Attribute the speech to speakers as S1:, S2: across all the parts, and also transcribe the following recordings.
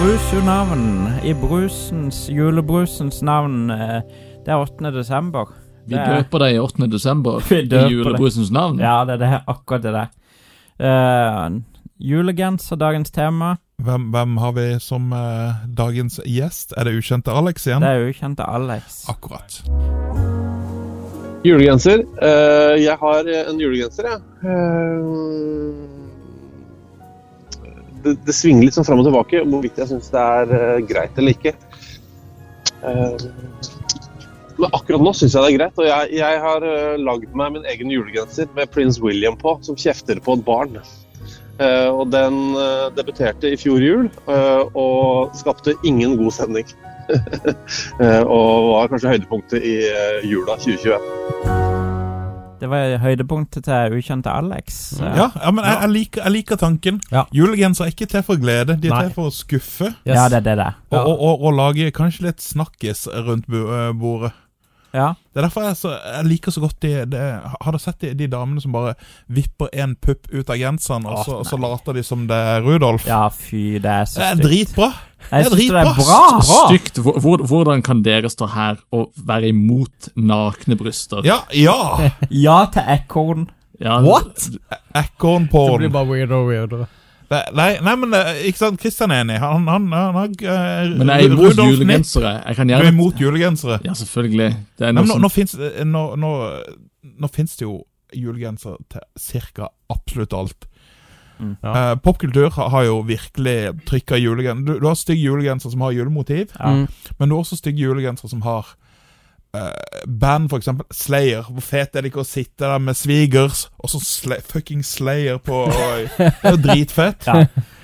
S1: Jesu navn, i brusens, julebrusens navn. eh, Det er 8. desember.
S2: Vi
S1: Det er-
S2: døper deg 8. desember
S1: Vi
S2: i
S1: døper deg.
S2: julebrusens
S3: Mm.
S2: navn.
S1: Ja, det er det her, akkurat det der. Eh, julegenser, dagens tema.
S3: Hvem, hvem har vi som eh, dagens gjest? Er det ukjente Alex igjen?
S1: Det er ukjente Alex.
S3: Ah. Akkurat.
S4: Julegenser. Eh, jeg har en julegenser, jeg. Eh, det, det svinger litt sånn fram og tilbake om hvorvidt jeg syns det er eh, greit eller ikke. Eh, men akkurat nå syns jeg det er greit, og jeg, jeg har uh, lagd meg min egen julegenser med prins William på, som kjefter på et barn. Eh, og den eh, debuterte i fjor jul eh, og skapte ingen god stemning. Eh, og var kanskje høydepunktet i eh, jula 2021.
S1: Det var høydepunktet til ukjente Alex. Eh,
S3: Mm. Ja, ja men jeg, jeg, liker, jeg liker tanken.
S5: Ja.
S3: Julegenser er ikke til for glede, de er
S5: Nei.
S3: til for å skuffe.
S5: Yes.
S1: Ja, det er det der.
S3: Og,
S5: Ja.
S3: og, og, og lage kanskje litt snakkis rundt bu- eh, bordet.
S1: Ja.
S3: Det er derfor jeg, så, jeg liker så godt de, de Har du sett de, de damene som bare vipper en pupp ut av genseren, og,
S5: Åh,
S3: så, og så later de som det er Rudolf?
S1: ja, fy, det er så
S3: det er
S1: stygt.
S3: dritbra!
S1: Jeg
S3: det er
S1: syns det er
S3: dritbra.
S1: Ah, bra.
S2: Stygt. Hvor- hvor- Hvordan kan dere stå her og være imot nakne bryster?
S3: Ja, ja!
S1: Ja til ekorn.
S2: Ja,
S5: What?! Det
S3: Ekornporn.
S5: blir bare weirdere og weirdere.
S3: Nei, nei, nei, men eh, ikke sant, Kristian er enig. Han, han, han, han eh,
S2: Men jeg er imot
S3: Rudolf Nipp.
S2: julegensere. Jeg kan
S3: Du er
S2: gjerne
S3: imot julegensere?
S2: Ja, selvfølgelig. Det er
S3: Nei,
S2: noe
S3: men nå,
S2: som
S3: nå, finnes, eh, nå, nå, nå finnes det jo julegenser til ca. absolutt alt.
S1: Mm.
S5: Ja.
S3: Eh, Popkultur har, har jo virkelig trykka julegenser. Du, du har stygge julegenser som har julemotiv,
S1: Ja.
S5: Mm.
S3: men du har også stygge julegenser som har eh, band, for eksempel Slayer. Hvor fet er det ikke å sitte der med svigers og så sla fucking Slayer på oi. Det er jo dritfett.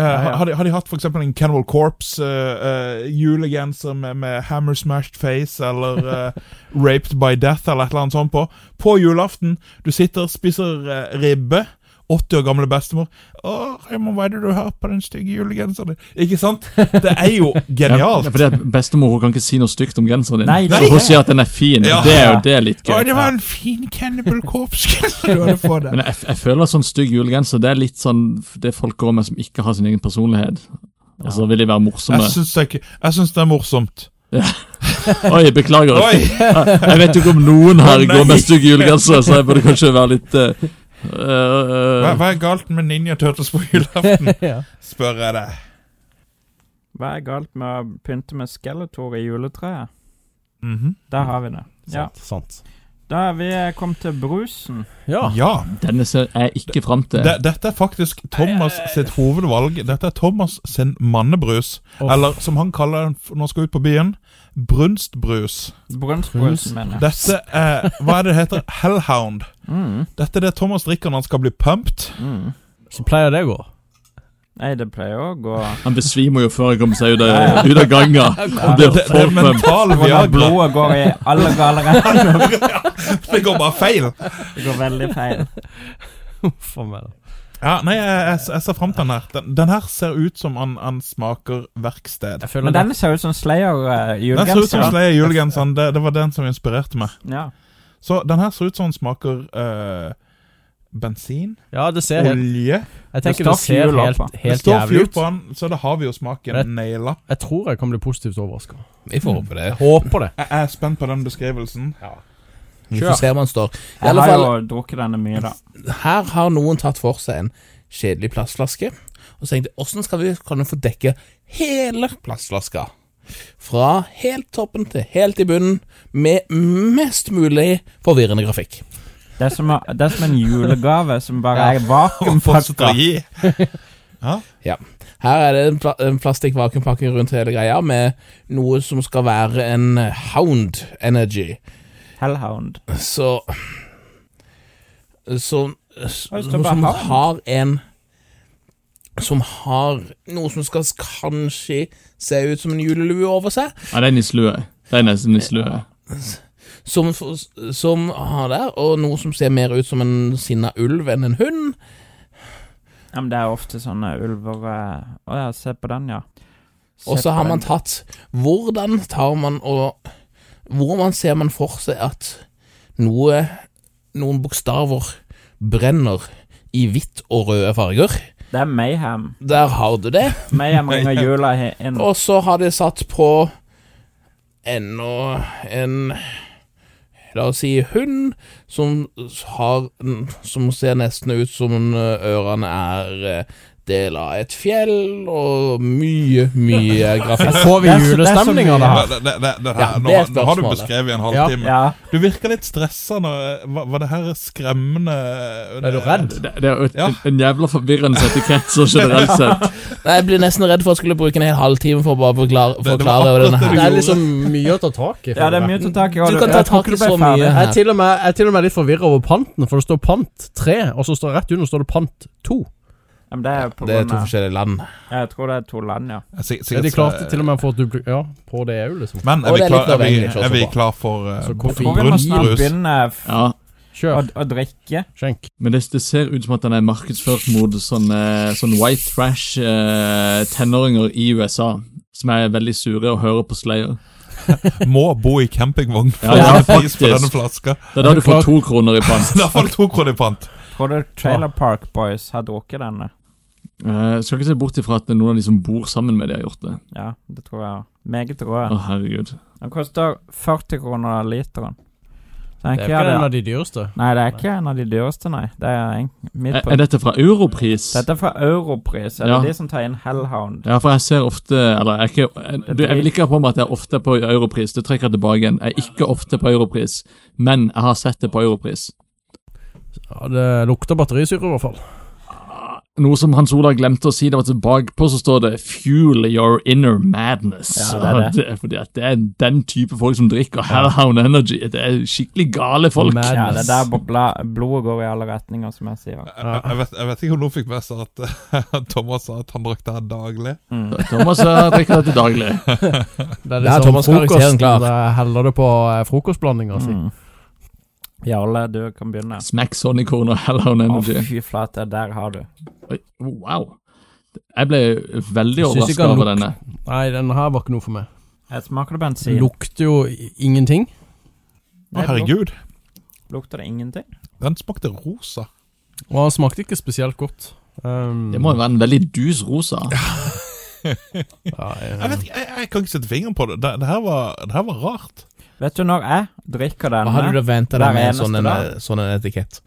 S1: Ja.
S3: Eh,
S1: ja.
S3: Har, de, har de hatt for eksempel en Cannibal Corpse eh, eh, julegenser med, med Hammer Smashed Face eller eh, Raped by Death eller et eller annet sånt på? På julaften, du sitter og spiser eh, ribbe. 80 år gamle bestemor. 'Å, Raymond, hva er det du har på den stygge julegenseren din?' Ikke sant? Det er jo genialt.
S2: Ja, for det er Bestemor hun kan ikke si noe stygt om genseren din.
S1: Nei, det
S2: så
S1: er
S2: hun
S1: det.
S2: sier at den er fin.
S3: Ja.
S2: Det er jo det er litt
S3: Å,
S2: gøy.
S3: det var en fin Cannibal Corpse-genser du hadde på deg.
S2: Men jeg, jeg føler at sånn stygg julegenser det er litt sånn det folk går med som ikke har sin egen personlighet. Og så vil de være morsomme.
S3: Jeg syns det, er ikke- jeg syns det er morsomt.
S2: Oi, beklager.
S3: Oi!
S2: Jeg vet ikke om noen her
S3: Å, nei.
S2: går med stygg julegenser, så jeg burde kanskje være litt eh, eh,
S3: Hva, hva er galt med Ninja Turtles på julaften?
S5: Ja.
S3: Spør jeg deg.
S1: Hva er galt med å pynte med skeletor i juletreet?
S3: Mhm.
S1: Der har vi det. Ja.
S5: Sant, sant.
S1: Da er vi kommet til brusen.
S5: Ja.
S3: Ja.
S2: eh, Denne ser jeg ikke fram til.
S3: De, dette er faktisk Thomas sitt hovedvalg. Dette er Thomas sin mannebrus.
S5: Uff.
S3: Eller som han kaller den f- når han skal ut på byen, brunstbrus.
S1: Brunstbrusen, mener jeg.
S3: Dette er Hva er det det heter? Hellhound.
S1: Mm,
S3: Dette er det Thomas drikker når han skal bli pumped.
S1: mm.
S5: Så pleier det å gå.
S1: Nei, det pleier å gå
S2: Han besvimer jo før han kommer seg ut
S1: Ja,
S2: av, ut av ganga. Han blir
S3: Det, det er
S2: for pump.
S3: mental
S1: Hvordan
S3: Viagra.
S1: blodet går i alle gale retninger.
S3: Det går bare feil.
S1: Det går veldig feil.
S5: Huff a meg. da.
S3: Ja, nei, jeg, jeg, jeg ser fram til den her. Den, den her ser ut som han, han smaker verksted.
S5: Jeg føler
S1: Men
S5: det.
S1: denne ser ut som eh,
S3: Den ser ut som
S1: Slayer-julegenser.
S3: Slayer julegenseren. Det, det var den som inspirerte meg.
S1: ja.
S3: Så den her ser ut som den smaker eh, bensin,
S5: Ja, det ser helt
S3: olje
S5: Jeg tenker
S1: står
S5: det ser
S1: fuel opp,
S5: helt,
S1: da.
S3: Det
S5: helt
S3: står
S5: jævlig
S3: fuel
S5: ut.
S3: på den, så da har vi jo
S5: Rett.
S3: smaken naila.
S5: Jeg tror jeg kan bli positivt overraska.
S6: Vi får håpe det.
S5: Jeg håper det.
S3: Jeg er spent på den beskrivelsen.
S6: Vi får se om han står. I
S1: Jeg
S6: alle
S1: har
S6: fall,
S1: jo drukket denne mye, da.
S6: her har noen tatt for seg en kjedelig plastflaske, og så tenkte jeg, hvordan skal vi kunne få dekke hele plastflaska? Fra helt toppen til helt i bunnen, med mest mulig forvirrende grafikk.
S1: Det er som, det er som en julegave som bare er
S3: Skal
S1: vakuumpakka.
S3: gi.
S6: Her er det en, pla en plastikkvakuumpakke rundt hele greia, med noe som skal være en Hound Energy.
S1: Hellhound.
S6: Så Så
S1: det
S6: Som,
S1: står bare
S6: som
S1: havn.
S6: har en Som har noe som skal s- kanskje se ut som en julelue over seg.
S2: Ja, det er nisselue. Det er nesten nisselue.
S6: Som, f- som har der, og noe som ser mer ut som en sinna ulv enn en hund.
S1: Ja, men det er ofte sånne ulver eh, Å ja, se på den, ja. Se
S6: Og så
S1: på
S6: har
S1: den.
S6: man tatt Hvordan tar man og Hvordan ser man for seg at noe Noen bokstaver brenner i hvitt og røde farger?
S1: Det er Mayhem.
S6: Der har du det.
S1: Mayhem ringer jula he- inn.
S5: Mm.
S6: Og så har de satt på enda en La oss si hund som har Som ser nesten ut som eh, ørene er eh, del av et fjell, og mye, mye grafikk.
S5: Får vi
S1: Det er så- det er så
S5: julestemninga,
S1: mye.
S5: da?
S1: Ja.
S3: Det, det, det, det
S6: Ja,
S3: her, nå,
S6: det er
S3: nå har du
S6: spørsmålet.
S3: beskrevet i en halvtime.
S1: Ja.
S3: Du virker litt stressa nå. Var, var det her skremmende
S5: Er du redd?
S2: Det, det er jo et,
S3: Ja.
S2: en jævla forvirrende etikett så generelt sett.
S6: Nei, Jeg blir nesten redd for at jeg skulle bruke en hel halvtime for å bare forklare,
S3: det var
S6: forklare
S3: akkurat
S6: denne
S3: det du
S5: Det
S6: her.
S5: er liksom mye å ta tak i.
S1: ja, det er mye å ta tak i. og
S6: Du kan ta
S1: jeg tror
S6: tak i
S1: ikke du ble
S6: så mye.
S1: ferdig.
S5: Jeg er til og med, jeg er til og med litt forvirra over panten, for det står pant 3, og så står rett under står det pant 2.
S1: Ja, men det er på
S6: Det er
S1: grunn
S6: to
S1: av
S6: forskjellige land.
S1: Jeg tror det er to land, ja.
S5: Ja, de klarte til og med å få et duplik... Ja, på det òg, liksom.
S3: Men
S6: Og
S3: er vi
S6: det er litt
S3: klar, er vi,
S6: nødvendig, så
S3: er vi
S6: bra.
S3: klar for eh,
S5: Så
S1: Jeg
S5: koffein.
S1: tror vi må
S3: Brun
S1: snart
S3: brus.
S1: begynne f
S2: Ja.
S1: å,
S5: Kjør.
S1: å drikke.
S5: Skjenk.
S2: Men det, det ser ut som at den er markedsført mot sånne, sånn white trash-tenåringer i USA. Som er veldig sure og hører på Slayer.
S3: Må bo i campingvogn for
S2: Ja,
S3: å få pris på
S2: faktisk.
S3: denne flaska.
S2: Det er da du får to kroner i pant.
S3: Da får du to kroner i pant.
S1: Tror du Trailer Park Boys har drukket denne?
S2: Eh, skal ikke se bort ifra at noen av de som bor sammen med de, har gjort det.
S1: Ja, det tror jeg. Meget
S2: Å,
S1: rå.
S2: herregud.
S1: Den koster 40 kroner literen. Så
S5: Det
S1: jeg
S5: er
S1: ikke
S5: ikke
S1: gjør
S5: en av
S1: det.
S5: de dyreste.
S1: Nei, det er ikke en av de dyreste, nei. Det er en, midt
S2: Er,
S1: på.
S2: er dette fra Europris?
S1: Dette er fra Europris. Er
S2: Ja.
S1: det de som tar inn Hellhound?
S2: Ja, for jeg ser ofte Eller jeg, er ikke, jeg, du, jeg vil ikke ha på meg at jeg ofte er på Europris. Det trekker jeg tilbake igjen. Jeg er ikke ofte på Europris, men jeg har sett det på Europris.
S5: Ja, Det lukter batterisyre, i hvert fall.
S2: Noe som Hans Olav glemte å si, det var at bakpå så står det 'Fuel your inner madness'.
S1: Ja, det er det.
S2: det. er fordi at det er den type folk som drikker Hellhound Energy. Det er skikkelig gale folk.
S5: Mad-
S1: Ja, det er
S5: Madness.
S1: der bobla, blodet går i alle retninger, som jeg sier.
S3: Jeg, jeg, vet, jeg vet ikke om du fikk med seg at eh, Thomas sa at han drakk det her daglig.
S1: Mm.
S2: Thomas eh, drikker dette daglig.
S5: Det er
S6: Der er
S5: liksom
S6: Thomas karakteren
S5: frokosten.
S6: klar.
S5: Det heller det på eh, frokostblandinga si.
S1: Mm. Jarle, du kan begynne.
S2: Smack Sonicorn og Hellhound
S1: Å,
S2: Energy.
S1: fy flate, der har du.
S2: Oi, wow. Jeg ble veldig
S5: Jeg synes
S2: overraska
S5: ikke han
S2: over
S5: lukter-
S2: denne.
S5: Nei, den her var ikke noe for meg.
S1: Her smaker det bensin.
S5: Lukter jo i- ingenting.
S3: Å,
S1: Nei,
S3: herregud.
S1: luk- Lukter det ingenting?
S3: Den smakte rosa.
S5: Og han smakte ikke spesielt godt. Um,
S2: Det må jo være en veldig dus rosa.
S5: ja, jeg-
S3: Jeg vet ikke, jeg, jeg kan ikke sette fingeren på det. Det, det, her, var, det her var rart.
S1: Vet du når jeg drikker eh?
S6: Hva hadde
S1: denne?
S6: du venta
S1: Hver
S6: deg med en
S1: eneste
S6: sånn, en,
S1: dag.
S6: eh, sånn en etikett?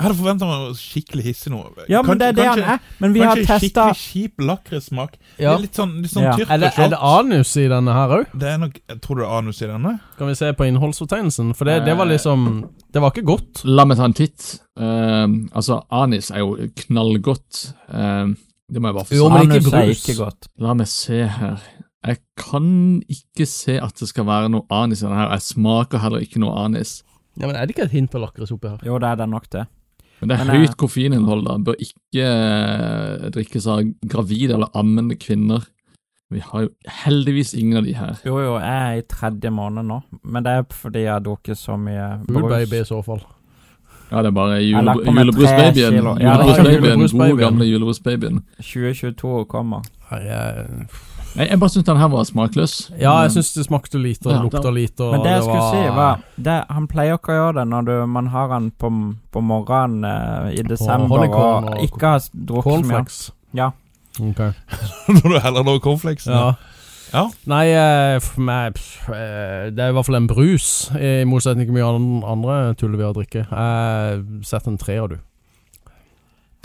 S3: Jeg hadde forventa meg skikkelig hissig noe.
S1: Ja, men det er det han er. Men vi har
S3: kanskje
S1: testa
S3: skikkelig kjip lakrissmak.
S5: Ja.
S3: Det er Litt sånn, litt sånn
S1: Ja.
S3: tyrk
S5: Er det,
S3: og
S5: er det
S3: salt.
S5: anus i denne her òg?
S3: Det er nok, jeg tror det er anus i denne.
S5: Kan vi se på innholdsfortegnelsen? For det, det var liksom Det var ikke godt.
S2: La meg ta en titt. Ehm, altså, anis er jo knallgodt. Ehm, det må jeg bare få
S6: Jo,
S2: sagt.
S6: men ikke
S1: Anus er
S6: brus.
S1: ikke godt.
S2: La meg se her. Jeg kan ikke se at det skal være noe anis i denne her. Jeg smaker heller ikke noe anis.
S5: Ja, men Er det ikke et hint av lakris oppi her?
S1: Jo, det er det nok, det.
S2: Men det er
S1: Men, eh,
S2: høyt koffeininnhold, da. Bør ikke eh, drikkes av gravide eller ammende kvinner. Vi har jo heldigvis ingen av de her.
S1: Jo, jo, jeg er i tredje måned nå, men det er fordi jeg har drukket så mye
S5: Food baby i
S1: brus.
S5: så fall.
S2: Ja, det er bare
S1: Jeg har lagt på
S2: jule,
S1: meg
S2: julebrusbabyen.
S1: tre kilo. Ja,
S5: det er
S2: Julebrusbabyen,
S5: julebrusbabyen.
S2: God gamle julebrusbabyen.
S1: 2022 kommer.
S5: Her er-
S2: Nei, jeg bare syns den her var smakløs.
S5: Ja, jeg syns det smakte lite, og det
S2: Ja, da-
S5: lukta lite, og
S1: Men det jeg skulle
S5: var
S1: si, var det, Han pleier ikke å gjøre det når du, man har han på, på morgenen eh, i desember og,
S5: honeycomb og-
S1: ikke har s- drukket så mye.
S5: cornflakes.
S1: Ja.
S5: Ok.
S3: Når du heller noe cornflakes. ned.
S5: Ja.
S3: Ja.
S5: Nei, eh, for meg pff, eh, Det er i hvert fall en brus, i motsetning til mye annen- andre tuller vi har drikket. Jeg setter en treer, du.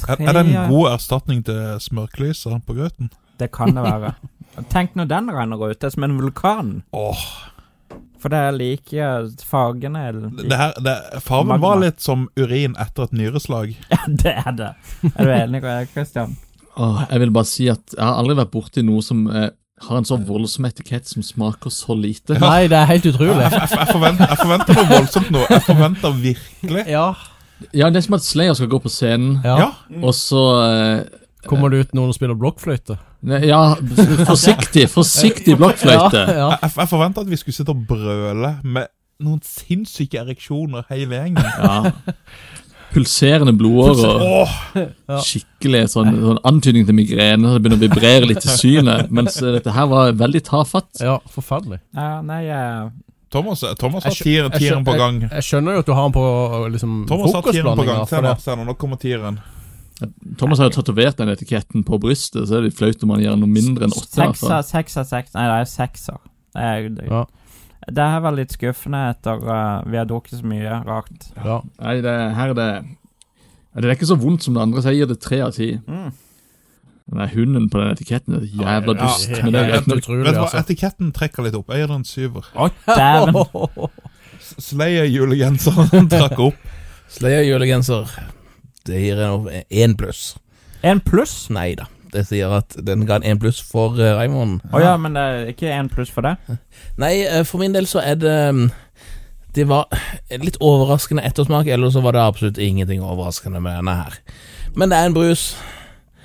S3: Er, er det en god erstatning til smørklyser på grøten?
S1: Det kan det være. Tenk når den renner ut. Det er som en vulkan.
S3: Åh,
S1: For det er like fargene eller-
S3: det det her, det, farven
S1: Magma.
S3: var litt som urin etter et nyreslag.
S1: Ja, det er det. Er du enig med det, Christian?
S2: Åh, jeg vil bare si at jeg har aldri vært borti noe som eh, har en så voldsom etikett som smaker så lite.
S5: Nei, det er helt utrolig.
S3: Jeg, jeg, forventer, jeg forventer noe voldsomt nå. Jeg forventer virkelig
S5: Ja.
S2: Ja, Det er som at Slayer skal gå på scenen,
S5: ja.
S3: Ja.
S2: og så eh,
S5: Kommer det ut noen og spiller blokkfløyte?
S2: ne- Ja, forsiktig! Forsiktig blokkfløyte!
S5: Ja, ja.
S3: Jeg, jeg forventer at vi skulle sitte og brøle med noen sinnssyke ereksjoner hele gjengen.
S2: Ja. Pulserende blodårer.
S3: Åh,
S2: Skikkelig sånn, sånn antydning til migrene. så Det begynner å vibrere litt i synet. Mens eh, dette her var veldig tafatt.
S5: ja forferdelig.
S1: Ja, nei, eh,
S3: Thomas, Thomas
S5: Jeg
S3: har
S5: skjø-
S3: tieren,
S5: jeg skjø-
S3: tieren på gang.
S5: Jeg skjønner jo at du har den på liksom,
S3: Thomas har tieren på gang.
S5: frokostblandinger.
S3: Se
S5: for
S3: nå,
S5: det-
S3: se nå, nå kommer tieren.
S2: Thomas har jo tatovert den etiketten på brystet, så er det litt flaut om han gjør noe mindre enn åtte. i hvert fall.
S1: Sekser, sekser, sekser Nei, det er sekser. Det, er, det,
S5: Ja.
S1: det her var litt skuffende etter uh, vi har drukket så mye rart.
S5: Ja.
S2: Nei, det, her er det Ja, Det er ikke så vondt som det andre, så jeg gir det tre av ti.
S1: Mm.
S2: Den der hunden på den etiketten er jævla
S3: Ja,
S2: dust.
S5: ja,
S2: men det er
S5: ja,
S2: greit nok.
S5: utrolig,
S3: Vet du hva,
S5: altså.
S3: Etiketten trekker litt opp. Jeg gir den en syver.
S1: Dæven.
S3: Slayer-julegenseren trakk opp.
S6: Slayer-julegenser. Det gir en én pluss.
S1: En pluss?
S6: Nei da. Det sier at den ga en én pluss for eh, Raymond.
S1: Å ja, men det er ikke en pluss for det?
S6: Nei, eh, for min del så er det mm, Det var en litt overraskende ettersmak, eller så var det absolutt ingenting overraskende med denne her. Men det er en brus.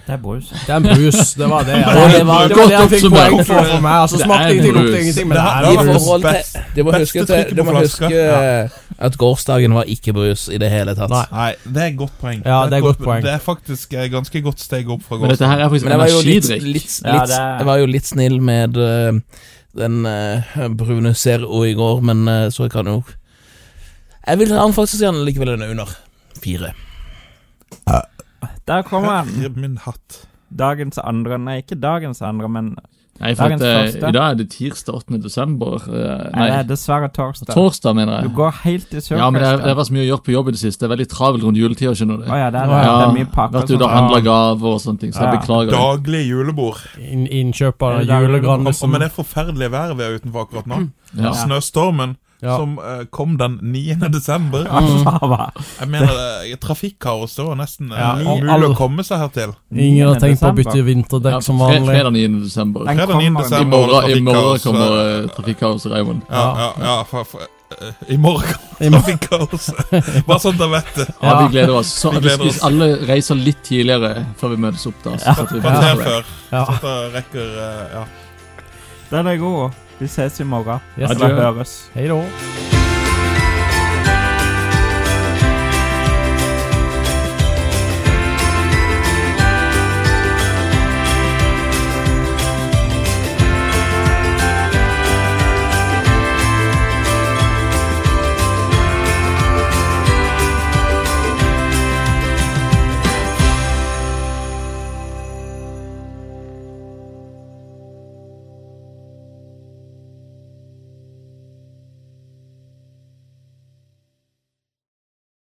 S1: Det er brus.
S5: Det er en brus, det var det.
S6: Det var-
S5: Det var det han fikk
S2: oppsummert.
S5: poeng for for meg. Altså,
S2: Det er
S5: smakte
S2: en
S5: ingenting,
S2: brus.
S5: lukte ingenting, men
S3: Det
S5: det
S3: er
S5: er
S6: I
S5: en brus.
S6: forhold
S3: best-
S6: til Du må
S3: beste
S6: huske,
S3: trykket
S6: til, du
S3: på
S6: må
S3: flaska.
S6: huske at gårsdagen var ikke brus i det hele tatt.
S5: Nei.
S3: Nei, det er et godt poeng.
S5: Ja, det er
S3: et
S5: godt poeng.
S3: Det er faktisk et ganske godt steg opp fra
S2: Men dette her er faktisk
S6: Men jeg var jo litt,
S2: energidrikk.
S6: litt,
S1: Ja,
S6: litt,
S1: det er-
S6: jeg var jo litt snill med eh, den eh, brune Zero i går, men eh, så jeg kan jo Jeg vil han faktisk gjerne likevel en under fire.
S1: Der kommer den.
S3: Herre min hatt.
S1: Dagens andre Nei, ikke dagens andre, men
S2: Nei, for at,
S1: Dagens
S2: eh,
S1: første.
S2: I dag er det tirsdag 8. desember. eh,
S1: Nei, det er
S2: Nei,
S1: dessverre torsdag.
S2: torsdag, mener
S1: Du
S2: jeg.
S1: går helt i
S2: Ja, men det, er- det
S1: sørkøsten.
S2: var så mye å gjøre på jobb i det siste. Det er veldig travel rundt juletida, skjønner du.
S1: Å ja, det er, det. det
S2: Ja,
S1: er mye pakker.
S2: vært ute og
S1: sånn.
S2: handla gaver og sånne ting, så jeg
S1: Ja.
S2: beklager. det.
S3: Daglig julebord.
S5: In innkjøp av
S1: Er det der-
S5: julegran.
S3: Og
S5: Liksom.
S3: med det forferdelige været vi er utenfor akkurat nå,
S2: Ja.
S3: snøstormen
S5: Ja.
S3: som eh, kom den 9. desember
S1: Mm.
S3: Jeg mener, eh, trafikkaos det var nesten eh,
S5: Ja, og
S3: umulig
S5: alle-
S3: å komme seg her til.
S5: Ingen har tenkt på å bytte
S2: Ja,
S5: vinterdekk som
S2: fre-
S5: vanlig.
S2: fredag 9. desember.
S1: Den
S3: Fredag 9.
S1: kommer.
S2: I
S3: desember var
S2: morgen,
S3: det
S2: i morgen
S3: trafikkaos.
S2: kommer eh, trafikkaos, Raymond.
S3: Ja, ja, ja for, for, eh, I morgen
S5: I
S3: kommer trafikkaos. Bare sånn dere vet det.
S2: Ja,
S5: Ja.
S2: vi gleder oss. Så
S3: Vi
S2: vi,
S3: gleder
S2: vi
S3: oss.
S2: alle reiser litt tidligere før vi møtes opp, da. så at vi får
S3: Kvarter
S2: det.
S3: før.
S5: Ja.
S3: Så dere rekker eh, ja.
S1: Den er god. Vi ses i morgen.
S5: Yes.
S1: Eller høres.
S5: Hei da.
S3: Hei